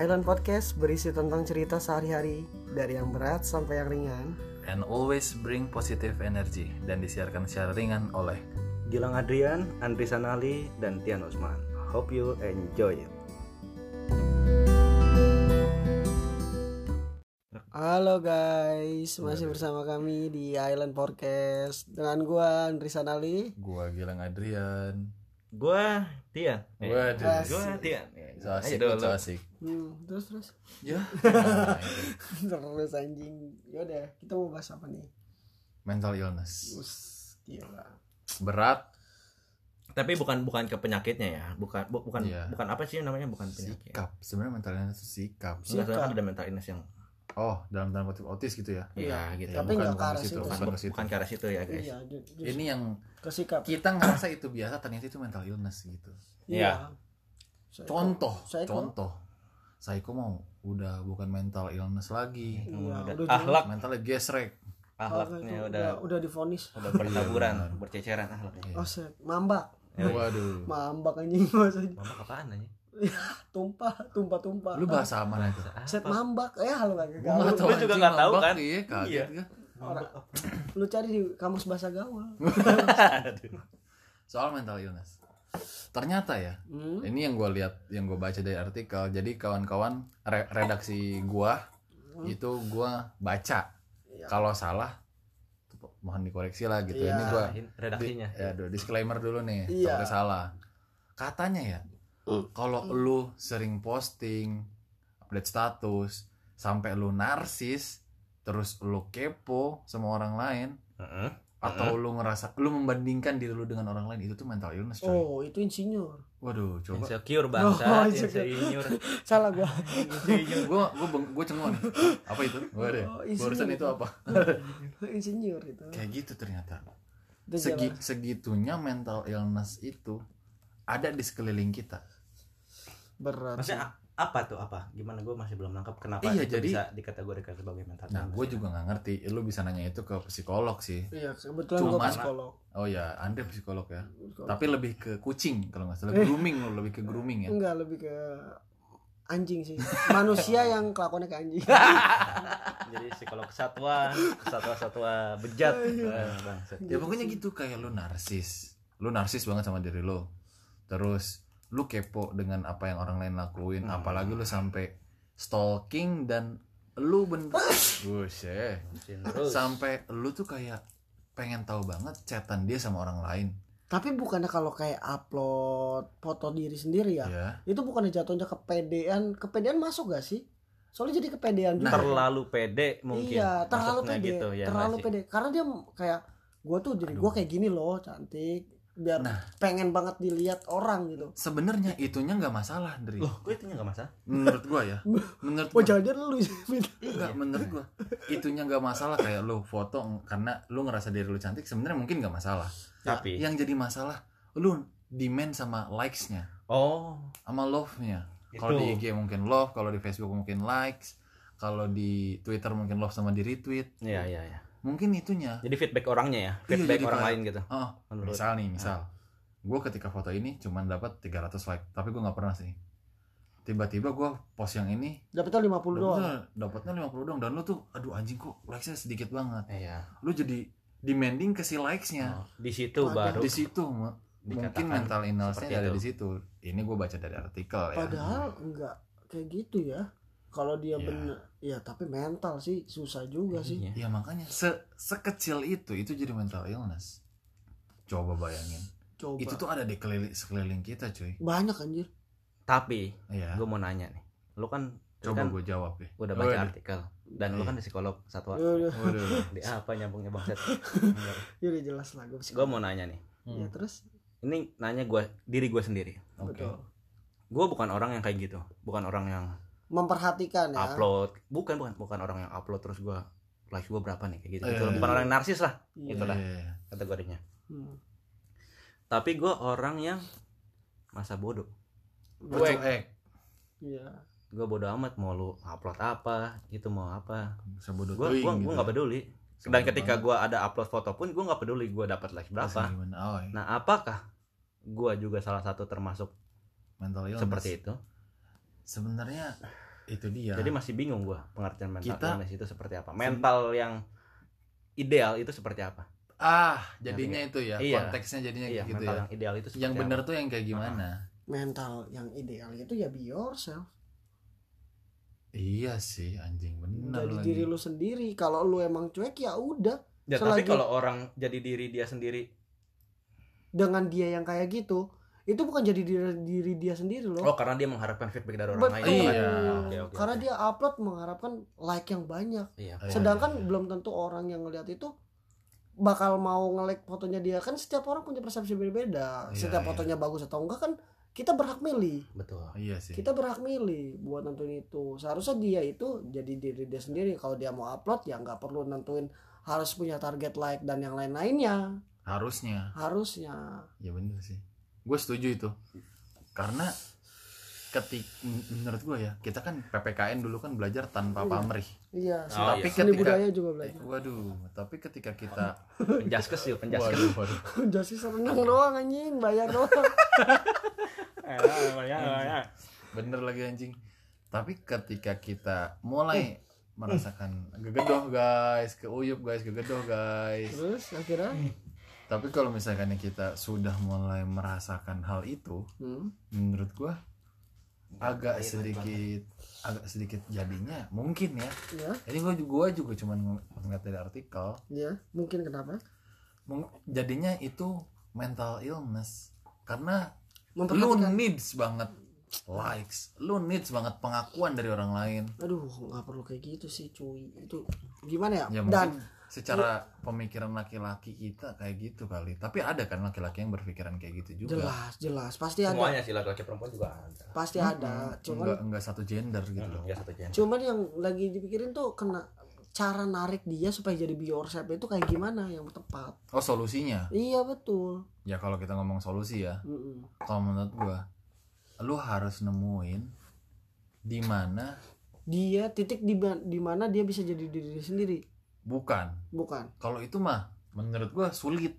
Island Podcast berisi tentang cerita sehari-hari dari yang berat sampai yang ringan. and always bring positive energy dan disiarkan secara ringan oleh Gilang Adrian, Andri Sanali, dan Tian Usman. Hope you enjoy it. Halo guys, masih bersama kami di Island Podcast dengan gua Andri Sanali. gua Gilang Adrian. Gua Tian. Gua Tian. Gua Tian. So asik, so Ayo dulu. asik. Hmm, terus terus Ya. terus anjing. Yaudah, kita mau bahas apa nih? Mental illness. Us, gila. Berat Tapi bukan bukan ke penyakitnya ya. Bukan bu- bukan Iya. bukan apa sih namanya bukan penyakit. sikap. Sebenarnya mental illness itu sikap. Enggak, soalnya Sikap. kan ada mental illness yang Oh, dalam tanda kutip otis gitu ya. Iya, gitu. Ya, Tapi bukan, nggak ke bukan arah ke situ, situ bukan bukan, ke situ. bukan ke arah situ ya, guys. Iya, ju- ju- Ini Iya. yang kesikap. kita ngerasa itu biasa ternyata itu mental illness gitu. Iya. Saya- Contoh, saya- contoh. Saiko mau udah bukan mental illness lagi. Iya, Udah udah akhlak, Mentalnya gesrek. akhlaknya Itu udah udah difonis. udah bertaburan, berceceran akhlaknya. Oh, set. mambak. Waduh. Mambak anjing maksudnya. Mama apaan aja? Tumpah, tumpah, tumpah. Lu bahasa mana itu? Set mambak. Eh, halo gak Gua nggak gaul. tahu Lu juga anjing, nggak tahu mabak kan? Iya, kaget Iya. gua. Orang- Lu cari di kamus bahasa gaul. Soal mental illness. Ternyata ya, Hmm. ini yang gua lihat, yang gue baca dari artikel. Jadi kawan-kawan re- redaksi gua itu gua baca. Iya. Kalau salah mohon dikoreksi lah gitu. Iya. Ini gua redaksinya. Di, ya, aduh, disclaimer dulu nih, Iya. takutnya salah. Katanya ya, kalau lu sering posting, update status, sampai lu narsis, terus lu kepo sama orang lain, Heeh. atau lu ngerasa lu membandingkan diri lu dengan orang lain itu tuh mental illness coy. Oh, itu insinyur. Waduh, coba Insecure Oh, bangsa, insecure. insecure. Salah gua. gue gue gue cengok nih. Apa itu? Gue deh. Oh, isinya Barusan gitu. itu apa? insinyur itu. Kayak gitu ternyata. Itu Segi, jalan. segitunya mental illness itu ada di sekeliling kita. berat. Maksudnya a- apa tuh apa? Gimana gue masih belum nangkap kenapa Iya, itu jadi- bisa dikategorikan sebagai mental Nah, gue juga nggak ngerti. Eh, Lu bisa nanya itu ke psikolog sih. Iya, kebetulan gua Cuman- psikolog. Oh ya, Andre psikolog ya. Psikolog. Eh. Tapi lebih ke kucing kalau nggak salah. Grooming lo lebih ke grooming ya. Enggak, lebih ke anjing sih. Manusia yang kelakuannya kayak anjing. jadi psikolog satwa, satwa-satwa bejat. Wah, bangsat. Ya pokoknya gitu kayak lu narsis. Lu narsis banget sama diri lu. Terus lu kepo dengan apa yang orang lain lakuin, apalagi lu sampai stalking dan lu bener Buset. Pusing Terus Sampai lu tuh kayak pengen tahu banget chatan dia sama orang lain. Tapi bukannya kalau kayak upload foto diri sendiri ya, Ya. itu bukannya jatuhnya kepedean. Kepedean masuk gak sih? Soalnya jadi kepedean nah. Nah, juga. terlalu pede mungkin. iya terlalu Masuknya pede gitu, ya terlalu nggak sih? pede karena dia kayak gue tuh diri gue kayak gini loh cantik biar pengen banget dilihat orang gitu Sebenarnya itunya nggak masalah, Dri. Loh, gue itu nggak masalah. Menurut gua ya. Menurut oh gua. jangan jangan lu Enggak, menurut gua itunya nggak masalah kayak lu foto ng- karena lu ngerasa diri lu cantik sebenarnya mungkin nggak masalah Tapi yang jadi masalah lu demand sama likes-nya oh, sama love-nya kalau di Itu. IG mungkin love kalau di Facebook mungkin likes kalau di Twitter mungkin love sama di retweet iya iya iya. mungkin itunya Jadi feedback orangnya ya, feedback Iya, jadi orang kayak- lain gitu. oh Menurut Ah. misal nih misal gue ketika foto ini cuman dapat 300 like tapi gue nggak pernah sih tiba-tiba gue post yang ini dapetnya lima puluh doang ya? dapatnya dapatnya 50 doang dan lu tuh aduh anjing kok likes-nya sedikit banget Iya. lu jadi demanding ke si likes-nya Oh, di situ Padahal- baru Ya. di situ mu- mungkin Dikatakan mental illness-nya seperti ada itu. di situ ini gue baca dari artikel ya padahal enggak kayak gitu ya kalau dia Iya. bener ya tapi mental sih susah juga sih ya Iya. makanya se- sekecil itu itu jadi mental illness coba bayangin coba itu tuh ada di kelili- sekeliling kita cuy banyak anjir Tapi ya gue mau nanya nih. Lu kan lu coba kan gue jawab ya udah baca Waduh. artikel dan Iya. lu kan psikolog satwa. Yaudah, Waduh. Di apa nyambungnya bangsat? yaudah ya jelas lah gue gue mau nanya nih. ya terus Ini nanya gua diri gue sendiri. oke betul Gue bukan orang yang kayak gitu, bukan orang yang memperhatikan ya upload, bukan bukan bukan orang yang upload terus gue like gue berapa nih kayak gitu. Iya, gitu. iya, Bukan iya. orang yang narsis Gitu lah Iya. Itulah. Iya. kategorinya. Hmm. Tapi gue orang yang masa bodoh. Cuek. eh, Iya. Gue bodoh amat mau lu upload apa, itu mau apa. sebodoh Gue tuing gua gitu gua ya. nggak peduli. Dan Sebodoh ketika banget. gue ada upload foto pun gue nggak peduli gue dapat like Pasti berapa. gimana? Oh, ya. Nah apakah gue juga salah satu termasuk Iya, mental illness seperti itu? sebenarnya itu dia Jadi masih bingung gua pengertian mental Kita- illness itu seperti apa. Mental yang ideal itu seperti apa? ah jadinya itu ya Iya. konteksnya jadinya Iya, gitu mental Iya. ya yang ideal itu seperti yang benar bener tuh yang kayak gimana mental yang ideal itu ya be yourself iya sih anjing bener jadi lu diri anjing. lu sendiri kalau lu emang cuek ya udah Ya, tapi Selagi- kalau orang jadi diri dia sendiri, dengan dia yang kayak gitu itu bukan jadi diri, diri dia sendiri loh oh karena dia mengharapkan feedback dari orang Betul. lain. gitu kan. Ah, Iya. Oke, oke, gitu. karena oke. dia upload mengharapkan like yang banyak Iya. Iya. sedangkan belum tentu orang yang ngelihat itu bakal mau nge-like fotonya dia kan setiap orang punya persepsi berbeda Iya, setiap iya. fotonya bagus atau enggak kan kita berhak milih Betul. iya sih kita berhak milih buat nentuin itu seharusnya dia itu jadi diri dia sendiri kalau dia mau upload ya nggak perlu nentuin harus punya target like dan yang lain-lainnya harusnya harusnya ya bener sih gue setuju itu karena ketik men- menurut gue ya kita kan ppkn dulu kan belajar tanpa Iya. pamrih iya Oh, seni- tapi iya. seni ketika Eh, budaya juga belajar waduh tapi ketika kita Penjaskes yuk, penjaskes. waduh, waduh. jadi seneng doang anjing bayar doang Eh, bener lagi anjing tapi ketika kita Eh. mulai merasakan gegedoh guys keuyup guys gegedoh guys terus akhirnya tapi kalau misalkan kita sudah mulai merasakan hal itu hmm, menurut gua Iya, agak sedikit agak sedikit jadinya mungkin ya ya jadi gua gua juga cuman ng- ngeliat dari artikel ya mungkin kenapa mung- jadinya itu mental illness karena lu memperhatikan needs banget likes lu needs banget pengakuan dari orang lain aduh nggak perlu kayak gitu sih cuy itu gimana ya, ya dan mungkin secara pemikiran laki-laki kita kayak gitu kali tapi ada kan laki-laki yang berpikiran kayak gitu juga jelas jelas pasti Iya, ada Semuanya sih laki-laki perempuan juga ada. pasti ada cuman Hmm, Hmm, iya. enggak enggak satu gender gitu loh Ya satu genre. cuman yang lagi dipikirin tuh kena cara narik dia supaya jadi be yourself itu kayak gimana yang tepat oh solusinya iya betul ya kalau kita ngomong solusi ya Mm-mm. kalau menurut gua lu harus nemuin di mana dia titik di ba- di mana dia bisa jadi diri sendiri bukan bukan kalau itu mah menurut gua sulit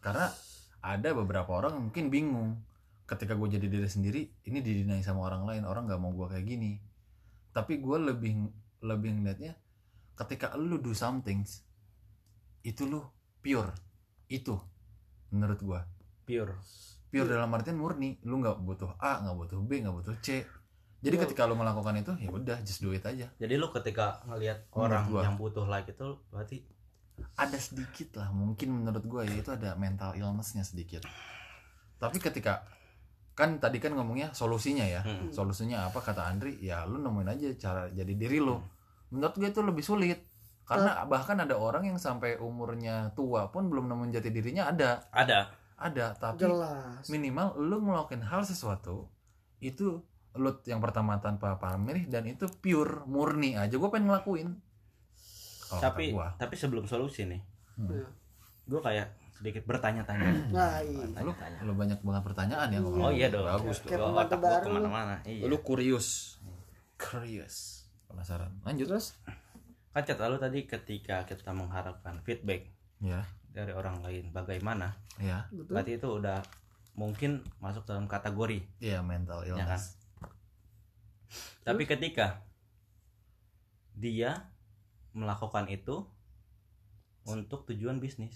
karena ada beberapa orang yang mungkin bingung ketika gue jadi diri sendiri ini didinai sama orang lain orang nggak mau gua kayak gini tapi gua lebih lebih ngeliatnya ketika lu do something itu lu pure itu menurut gua Pure. pure dalam artian murni lu nggak butuh a nggak butuh b nggak butuh c jadi Iya. ketika lu melakukan itu ya udah just do it aja Jadi lu ketika ngelihat Menurut orang gua. yang butuh like itu berarti ada sedikit lah mungkin menurut gue ya itu ada mental illnessnya sedikit tapi ketika kan tadi kan ngomongnya solusinya ya Hmm. solusinya apa kata Andri ya lu nemuin aja cara jadi diri lu menurut gue itu lebih sulit karena bahkan ada orang yang sampai umurnya tua pun belum nemuin jati dirinya ada ada. ada tapi jelas minimal lu ngelakuin hal sesuatu itu lu yang pertama tanpa pamrih dan itu pure murni aja gue pengen ngelakuin Kalau kata tapi Oh, gua, tapi sebelum solusi nih, Iya. gue kayak sedikit bertanya-tanya. nah iya lu, Bertanya-tanya. lu banyak banget pertanyaan ya Oh iya dong. bagus Kayak Gua pembantu otak gua baru. kemana-mana. Iya. lu curious curious penasaran lanjut terus kan kata lu tadi ketika kita mengharapkan feedback ya dari orang lain bagaimana, ya betul berarti itu udah mungkin masuk dalam kategori. iya mental Ya kan? illness Tapi ketika dia melakukan itu untuk tujuan bisnis.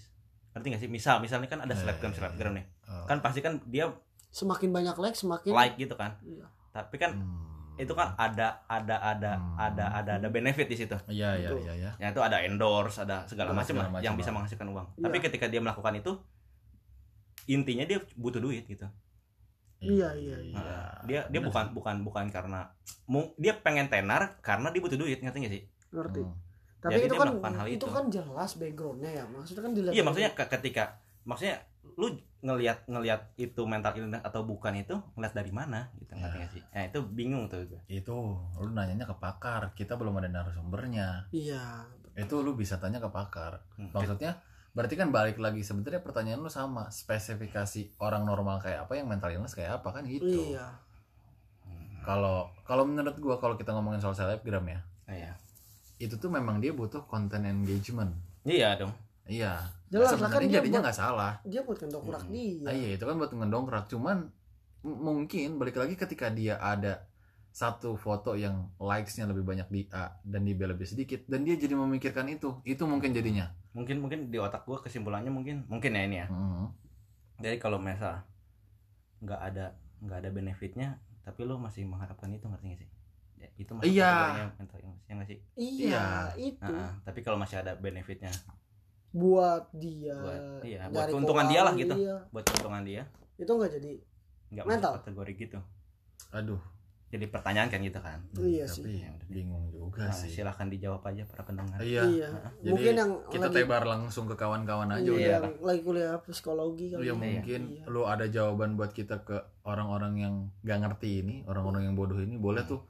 Ngerti gak sih? Misal, misalnya kan ada Iya, selebgram, iya, iya. selebgram nih. Eh, Kan pasti kan dia semakin banyak like semakin like gitu kan. Iya. Tapi kan hmm. itu kan ada ada ada Hmm. ada ada ada benefit di situ. iya iya Betul. iya ya Ya itu ada endorse, ada segala Ada macam lah segala macam yang lah. bisa menghasilkan uang. Iya. Tapi ketika dia melakukan itu intinya dia butuh duit gitu. Nah, Iya, iya, iya. Dia dia Bener bukan sih. bukan bukan karena mu- dia pengen tenar karena dia butuh duit, ngerti gak sih? ngerti Hmm. tapi Jadi itu dia kan melakukan hal itu. itu. kan jelas backgroundnya ya maksudnya kan dilihat Iya, maksudnya ke- ketika maksudnya lu ngelihat ngelihat itu mental illness atau bukan itu ngelihat dari mana gitu ngerti Iya. gak sih? Nah, itu bingung tuh gue. itu lu nanyanya ke pakar kita belum ada narasumbernya iya itu lu bisa tanya ke pakar Hmm. Maksudnya berarti kan balik lagi sebenarnya pertanyaan lu sama spesifikasi orang normal kayak apa yang mental illness kayak apa kan gitu. iya Kalau kalau menurut gua kalau kita ngomongin soal selebgram ya, Ah, Iya. itu tuh memang dia butuh content engagement. Iya dong. Iya. Jelas lah, kan dia Sebenarnya jadinya buat- nggak salah. iya, dia buat kentok kurak Hmm. dia Ah, Iya, itu kan buat ngedongkrak cuman m- mungkin balik lagi ketika dia ada satu foto yang likesnya lebih banyak di A dan di B lebih sedikit dan dia jadi memikirkan itu itu mungkin jadinya mungkin mungkin di otak gue kesimpulannya mungkin mungkin ya ini ya Mm. jadi kalau misal nggak ada nggak ada benefitnya tapi lo masih mengharapkan itu ngerti gak sih Ya, itu masih Iya. kategorinya mental illness ya nggak sih iya itu Nah, tapi kalau masih ada benefitnya buat dia Buat- iya, buat nyari keuntungan dia lah keuangan gitu. dia. buat keuntungan dia itu nggak jadi nggak masuk Mental. kategori gitu aduh jadi pertanyaan kan gitu kan Iya tapi sih. bingung juga nah, Iya sih silahkan dijawab aja para pendengar iya iya Jadi mungkin yang kita lagi tebar langsung ke kawan-kawan iya, aja udah yang lagi kuliah psikologi lu kali yang ya. mungkin Iya. lu ada jawaban buat kita ke orang-orang yang nggak ngerti ini orang-orang yang bodoh ini boleh tuh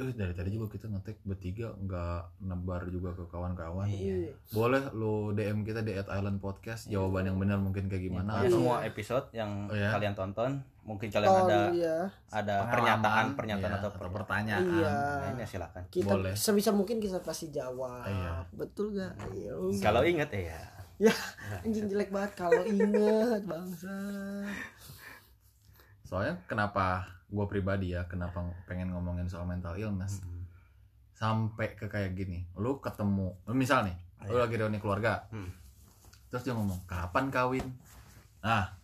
eh dari tadi juga kita ngetek bertiga nggak nebar juga ke kawan-kawan Iya. boleh lu DM kita di at Island Podcast Iya. jawaban yang benar mungkin kayak gimana Iya. Ya, atau semua episode yang Oh, iya. kalian tonton mungkin kalian Tol, ada iya. pengalaman, ada pernyataan pernyataan iya, atau, per- pertanyaan Iya. Nah, ini silakan kita Boleh. sebisa mungkin kita pasti jawab Iya. betul gak Iya. kalau inget ya Ya, anjing Iya. jelek banget kalau inget bangsa Iya. soalnya kenapa gue pribadi ya kenapa pengen ngomongin soal mental illness Hmm. sampai ke kayak gini lu ketemu lu misal nih lu lagi reuni keluarga Ah, iya. Hmm. terus dia ngomong kapan kawin nah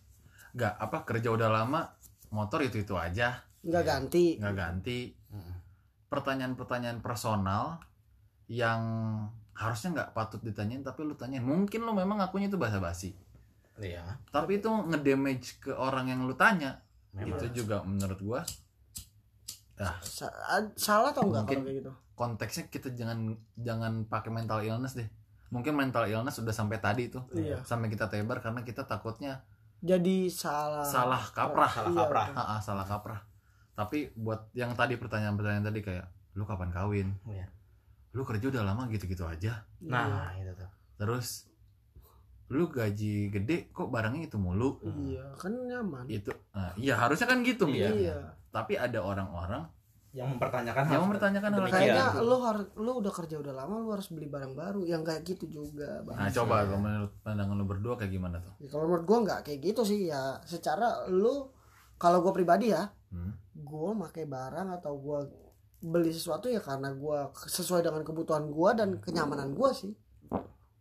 nggak apa kerja udah lama motor itu itu aja nggak ganti nggak ganti Hmm. pertanyaan-pertanyaan personal yang harusnya nggak patut ditanyain tapi lu tanyain mungkin lu memang akunya itu basa-basi iya tapi itu ngedamage ke orang yang lu tanya memang itu juga menurut gua Sa- ad- salah atau enggak Mungkin. kalau kayak gitu konteksnya kita jangan jangan pakai mental illness deh mungkin mental illness sudah sampai tadi tuh Iya. sampai kita tebar karena kita takutnya jadi salah salah kaprah salah Iya, kaprah Ah, ah, salah kaprah tapi buat yang tadi pertanyaan-pertanyaan tadi kayak lu kapan kawin Iya. lu kerja udah lama gitu-gitu aja nah itu tuh terus lu gaji gede kok barangnya itu mulu iya, Iya, kan nyaman itu ah, iya harusnya kan gitu Iya. mikirnya. tapi ada orang-orang yang yang mempertanyakan hal- mempertanyakan hal Demikian. kayak kayaknya gitu. lu harus lu udah kerja udah lama lu harus beli barang baru yang kayak gitu juga bang nah coba Iya. kalau menurut pandangan lu berdua kayak gimana tuh Ya, kalau menurut gua nggak kayak gitu sih ya secara lu kalau gua pribadi ya Hmm. gua pakai barang atau gua beli sesuatu ya karena gua sesuai dengan kebutuhan gua dan kenyamanan gua sih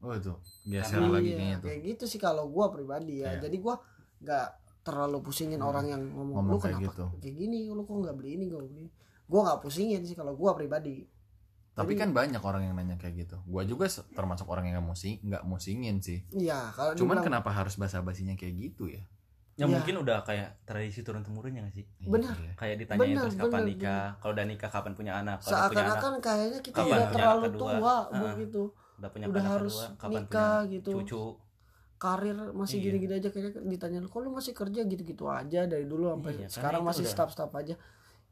oh itu geser Iya, lagi kayaknya tuh kayak gitu sih kalau gua pribadi ya Iya. Hmm. jadi gua nggak terlalu pusingin orang yang ngomong, lu Ngomong kayak kenapa gitu." kayak gini lu kok nggak beli ini gua beli ini?" gua nggak pusingin sih kalau gua pribadi Tapi Jadi- kan banyak orang yang nanya kayak gitu. Gua juga se- termasuk orang yang nggak musing, nggak musingin sih. iya kalau Cuman dibilang- kenapa harus basa-basinya kayak gitu ya? Iya. ya mungkin udah kayak tradisi turun temurunnya gak sih Iya, Benar. iya. kayak ditanyain Benar, terus kapan benar, nikah kalau udah nikah kapan punya anak kalau udah punya anak seakan-akan kayaknya kita Kapan udah punya terlalu anak kedua? tua Heeh. begitu udah punya udah anak harus kedua kapan nikah punya gitu cucu karir masih Iya. gini-gini aja kayaknya ditanya kok lu masih kerja gitu-gitu aja dari dulu sampai Iya, karena sekarang itu masih udah- staf-staf aja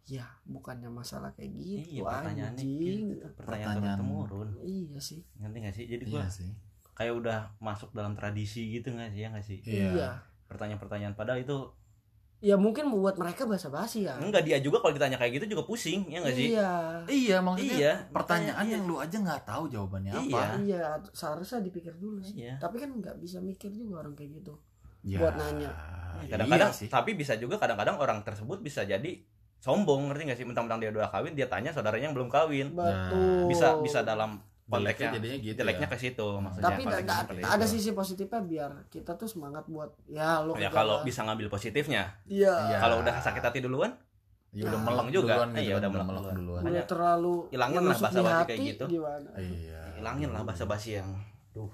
ya bukannya masalah kayak iya gitu pertanyaannya anjing gitu. pertanyaan turun Pertanyaan. temurun iya sih ngerti gak sih jadi Iya gua sih. kayak udah masuk dalam tradisi gitu gak sih ya gak sih Iya. iya pertanyaan-pertanyaan padahal itu ya mungkin buat mereka basa-basi ya enggak dia juga kalau ditanya kayak gitu juga pusing ya gak sih iya Iya, maksudnya Iya, pertanyaan makanya, yang lu aja nggak tahu jawabannya Iya. apa. iya seharusnya dipikir dulu sih iya tapi kan nggak bisa mikir juga orang kayak gitu Ya, Buat nanya. kadang-kadang iya sih. tapi bisa juga kadang-kadang orang tersebut bisa jadi sombong ngerti gak sih mentang-mentang dia udah kawin dia tanya saudaranya yang belum kawin betul Nah, bisa bisa dalam Jeleknya konteksnya jadinya gitu. jeleknya ya. ke situ maksudnya Oh. tapi konteksnya ada, seperti ada itu. sisi positifnya biar kita tuh semangat buat ya lo ya kalau bisa ngambil positifnya iya Ya. kalau udah sakit hati duluan Ya, udah meleng juga. duluan Iya, kan, udah meleng duluan. duluan. udah makanya terlalu hilangin lah menusuk di basa-basi kayak hati, gitu. gimana Iya. hilangin lah bahasa basi yang duh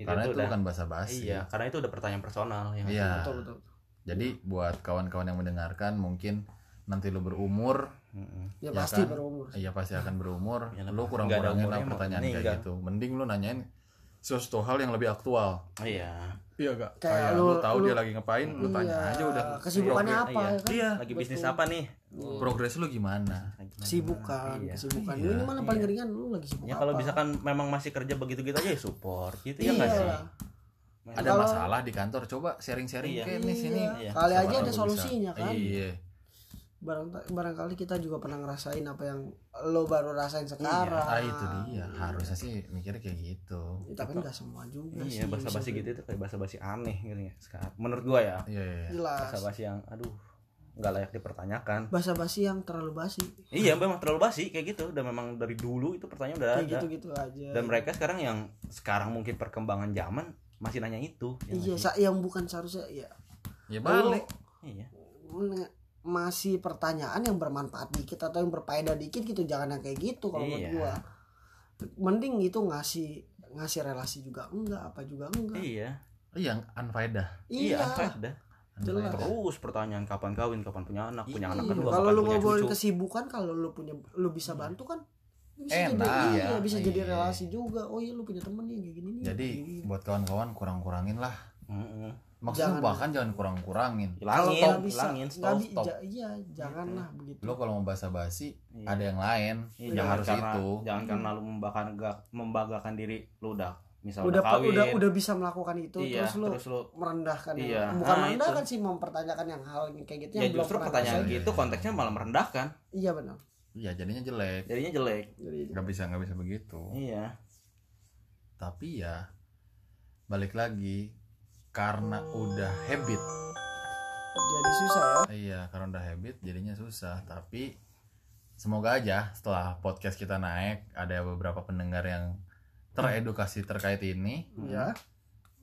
Itu Karena tuh itu udah- bukan basa-basi. iya karena itu udah pertanyaan personal ya Iya. betul betul Jadi buat kawan-kawan yang mendengarkan mungkin nanti lu berumur Mm-mm. ya Ya pasti kan? berumur Iya pasti akan berumur. Ya, lu nggak ada kurang-kurangin lah umurnya, pertanyaan makanya kayak nggak. gitu. Mending lu nanyain sesuatu hal yang lebih aktual. iya Iya gak? Kayak Kayak lu- lu, tahu lu- dia lagi ngapain, lu tanya Iya, aja udah. kesibukannya Iya, apa iya. ya kan Iya. lagi bisnis Betul. apa nih Progres lu gimana? kesibukan Iya. kesibukan Iya. lu ini mana paling Iya. ringan lu lagi sibuk Ya kalau kan, apa? misalkan memang masih kerja begitu-gitu aja ya support gitu ya iya enggak sih? lah. Ada Kalau- masalah di kantor, coba sharing-sharing Iya. ke nih sini. Iya. Iya. kali Siapa aja tahu ada bisa. solusinya kan Iya. Barang- barangkali kita juga pernah ngerasain apa yang lo baru rasain Iya. sekarang Ah, itu dia. Harusnya sih mikirnya kayak gitu. Ya, tapi nggak semua juga sih Iya, Bisa- basa-basi gitu itu kayak basa-basi aneh gitu ya. Sekarang menurut gua ya, Iya, iya. jelas basa-basi yang aduh nggak layak dipertanyakan bahasa basi yang terlalu basi iya memang terlalu basi kayak gitu udah memang dari dulu itu pertanyaan udah kayak ada gitu gitu aja dan mereka sekarang yang sekarang mungkin perkembangan zaman masih nanya itu ya iya nggak sih? sa- yang bukan seharusnya ya ya balik iya men- masih pertanyaan yang bermanfaat dikit atau yang berfaedah dikit gitu jangan yang kayak gitu kalau menurut Iya. gua mending itu ngasih ngasih relasi juga enggak apa juga enggak iya iya unfaedah iya iya, faedah. Jelas. Unfaedah. terus pertanyaan kapan kawin kapan punya anak Iya, punya anak kan juga kalau kapan lu punya ngobrolin cucu. Iya. kesibukan kalau lu punya lu bisa bantu kan bisa Enak, jadi iya, ya. bisa jadi Iya. relasi juga oh iya lu punya temen nih kayak gini nih jadi Iya. buat kawan-kawan kurang-kurangin lah Mm-mm. maksudnya Jangan. bahkan jangan kurang-kurangin kalau hilangin nggak Iya, bisa hilangin nggak stop bi- stop. ja- iya janganlah begitu lo kalau mau basa-basi Iya. ada yang lain Iya, yang jangan harus karena, itu jangan karena lu membanggakan membanggakan diri lu udah misal udah udah pa- kawin udah udah bisa melakukan itu iya terus lu merendahkan yang- Iya, bukan nah, merendahkan sih mempertanyakan yang hal yang kayak gitu ya yang belum justru pernah pertanyaan ngerasain. ngerasain. gitu konteksnya malah merendahkan iya benar iya jadinya jelek jadinya jelek jadi nggak bisa nggak bisa begitu iya tapi ya balik lagi karena udah habit Hmm. jadi susah ya iya karena udah habit jadinya susah tapi semoga aja setelah podcast kita naik ada beberapa pendengar yang teredukasi terkait ini ya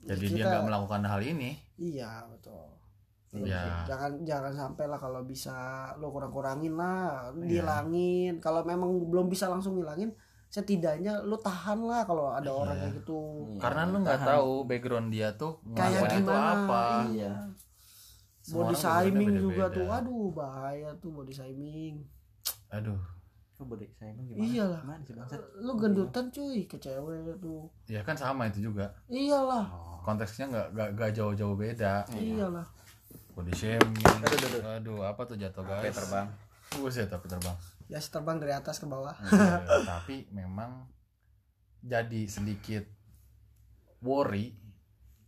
jadi Kita- dia nggak melakukan hal ini iya betul Iya. jangan jangan sampai lah kalau bisa lo kurang kurangin lah lu Iya. hilangin kalau memang belum bisa langsung hilangin setidaknya lo tahan lah kalau ada orang Iya. kayak gitu Hmm. karena lu nggak Tahan. tahu background dia tuh kayak ngelakuin itu gimana apa iya body Semua orang shaming backgroundnya juga tuh beda-beda. aduh bahaya tuh body shaming aduh Lu body shaming gimana? Iyalah. Gimana sih bangsat? lu gendutan cuy ke cewek tuh ya kan sama itu juga iyalah Oh. konteksnya nggak nggak nggak jauh-jauh beda iyalah body shaming Aduh, aduh, aduh. aduh apa tuh jatuh Kayak guys terbang. buset tapi terbang ya terbang dari atas ke bawah Iya, tapi memang jadi sedikit worry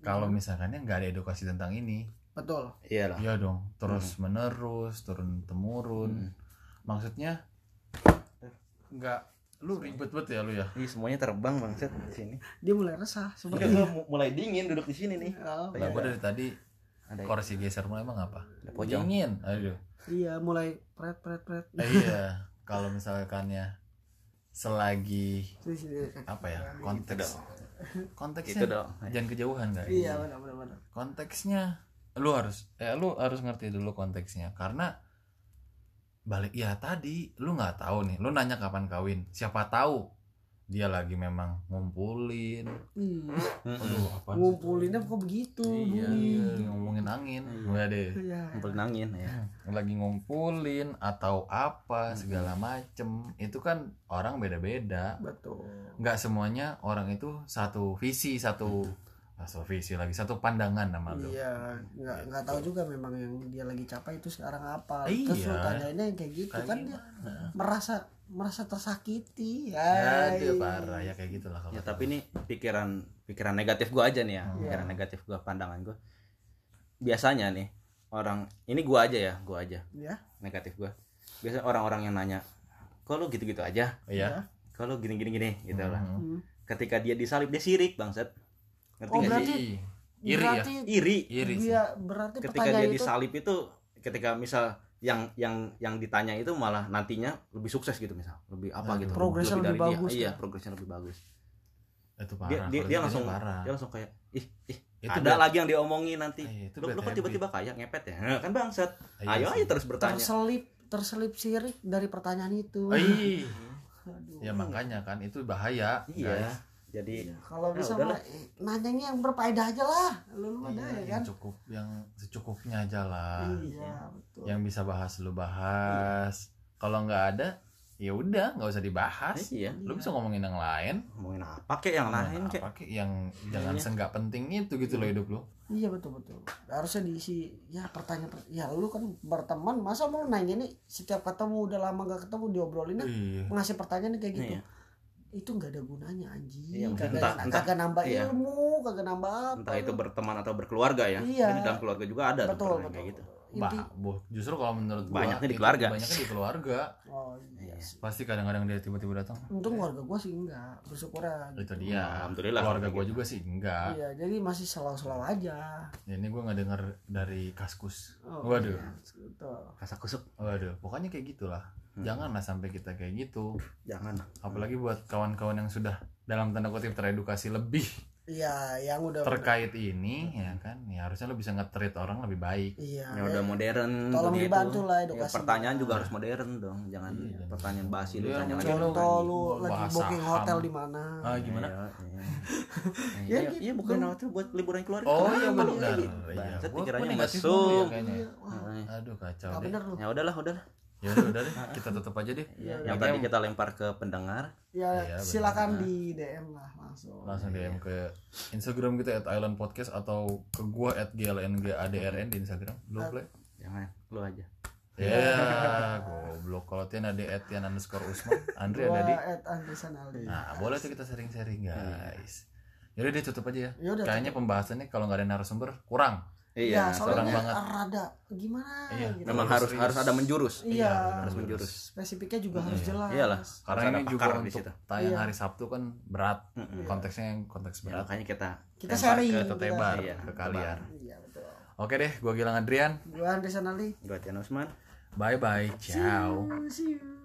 kalau Hmm. misalkannya nggak ada edukasi tentang ini betul Iyalah. iya dong terus Hmm. menerus turun temurun maksudnya nggak lu ribet banget ya lu ya Ih, semuanya terbang bangsat di sini. dia mulai resah Udah Iya. seperti gua mulai dingin duduk di sini nih. Oh, Lah, iya. gua dari tadi Ada kursi geser mulai emang apa ada pojok. dingin aduh iya mulai pret pret pret Eh, iya kalau misalkannya selagi Terus, iya. apa ya konteks Gitu konteksnya dong. jangan kejauhan nggak iya benar benar benar konteksnya lu harus eh lu harus ngerti dulu konteksnya karena balik ya tadi lu nggak tahu nih lu nanya kapan kawin siapa tahu dia lagi memang ngumpulin Iya. aduh apa ngumpulinnya kok begitu Iya. ngomongin angin Nggak deh Iya. Ngumpul nangin ya. lagi ngumpulin atau apa segala macem itu kan orang beda-beda betul nggak semuanya orang itu satu visi satu Hmm. ah, satu visi lagi satu pandangan nama lu iya nggak nggak tahu juga memang yang dia lagi capai itu sekarang apa Iya. terus lu tanyainnya yang kayak gitu Kayak kan dia gimana? merasa merasa tersakiti ya Hai. dia parah ya kayak gitulah kalau Ya tapi ini pikiran pikiran negatif gua aja nih ya. Hmm. Pikiran negatif gua pandangan gua. Biasanya nih orang ini gua aja ya, gua aja. ya Negatif gua. Biasanya orang-orang yang nanya, "Kok lu gitu-gitu aja? Iya. Kok lu gini-gini gini?" gitu lah. Hmm. Mhm. Ketika dia disalib dia sirik bangsat. Ngerti Oh, nggak berarti- sih? Iri ya? berarti Iri. Iri sih. dia berarti ketika dia pertanyaan itu disalib itu ketika misal yang yang yang ditanya itu malah nantinya lebih sukses gitu misal lebih Aduh. apa gitu Nah, Progresnya dari lebih dia. bagus iya ya? progresnya lebih bagus Itu parah. dia dia, kalau dia gitu langsung Nah. parah. dia langsung kayak ih ih Itu ada bad- lagi yang diomongin nanti Eh, itu lu, bad lu kok habit. tiba-tiba kayak ngepet ya Nah, kan bangsat Iya ayo sih. aja terus bertanya terselip terselip sirik dari pertanyaan itu Ih. Aduh. Ya makanya kan itu bahaya. Hmm. iya guys. jadi Kalau Ya, bisa udahlah. mah nanyanya yang berfaedah aja lah. Lu lu ada Iya, ya kan? yang cukup yang secukupnya aja lah. Iya, betul. Yang bisa bahas lu bahas. Kalau nggak ada ya udah nggak usah dibahas. iya Lu bisa ngomongin yang lain. ngomongin apa kek yang Ngomongin lain kek Nah, apa kek yang jangan Nah, Iya. senggak penting itu gitu loh hidup lu. Iya betul betul. Harusnya diisi ya pertanyaan per- ya lu kan berteman masa mau nanya nih setiap ketemu udah lama gak ketemu Nah, diobrolinnya Iya. ngasih pertanyaan kayak gitu. Iya. Itu nggak ada gunanya anjing. Iya, kagak, entah- entah- kagak nambah iya. ilmu, kagak nambah apa. entah itu berteman atau berkeluarga ya Iya. Kan di dalam keluarga juga ada tuh betul pernah betul. kayak gitu betul. inti Bah, boh. justru kalau menurut gua Banyaknya di itu keluarga. Banyaknya di keluarga. oh iya sih Pasti kadang-kadang dia tiba-tiba datang. untung Iya. keluarga gue sih enggak bersyukur aja Oh, Itu dia. Alhamdulillah. gitu. Keluarga gua juga sih enggak. iya jadi masih selalu-selalu aja Ya, Iya. ini gua nggak dengar dari kaskus. Oh, Waduh. iya, gitu. Kasa kusuk. Waduh, pokoknya kayak gitulah. Hmm. Janganlah sampai kita kayak gitu. Jangan. Nah, Apalagi buat kawan-kawan yang sudah dalam tanda kutip teredukasi lebih iya yang udah terkait ini ya kan ya harusnya lo bisa nge-treat orang lebih baik iya Ya udah modern tolong gitu. dunia itu. dibantu lah Ya, edukasi pertanyaan juga harus modern dong, jangan Iya. pertanyaan basi lu Iya, tanya lagi. contoh contoh lu lagi Bahasa booking hotel ham. di mana ah gimana Iya, iya. Ya, Iya, gitu. iya bukan waktu buat liburan keluarga. oh Kenapa iya lu benar lagi? iya Bangsat, Gua- pikirannya gua negatif mesum. mulu ya kayaknya Iya, iya wah Heeh. aduh kacau nggak deh bener lu Nah, Ya udahlah, udahlah. ya udah udah deh kita tutup aja deh Iya, Yang udah. tadi kita lempar ke pendengar. ya Iya, silakan di DM lah langsung langsung DM ke Instagram kita at Island Podcast atau ke gua at GLNGADRN di Instagram lu play Jangan, lu aja. ya goblok kalau Tian ada at Tian underscore Usman Andre gua ada di at Andresan Aldi nah boleh tuh kita sharing-sharing guys Yaudah deh tutup aja ya Yaudah, Kayaknya pembahasannya kalau nggak ada narasumber kurang ya Iya, soalnya seorang banget. rada gimana Iya, gitu memang memang harus serius. harus ada menjurus. iya harus menjurus. spesifiknya Iya. juga harus jelas Iyalah. Karena Harus ada ini juga pakar di untuk situ. tayang Iya. hari Sabtu kan berat Konteksnya yang konteks Ya, berat makanya kita Kita lempar sharing. ke Ke tebar, Iya, ke kalian iya betul Oke deh, gua Gilang Adrian gua Andresan Aldi Gua Tian Usman. Bye-bye, ciao see you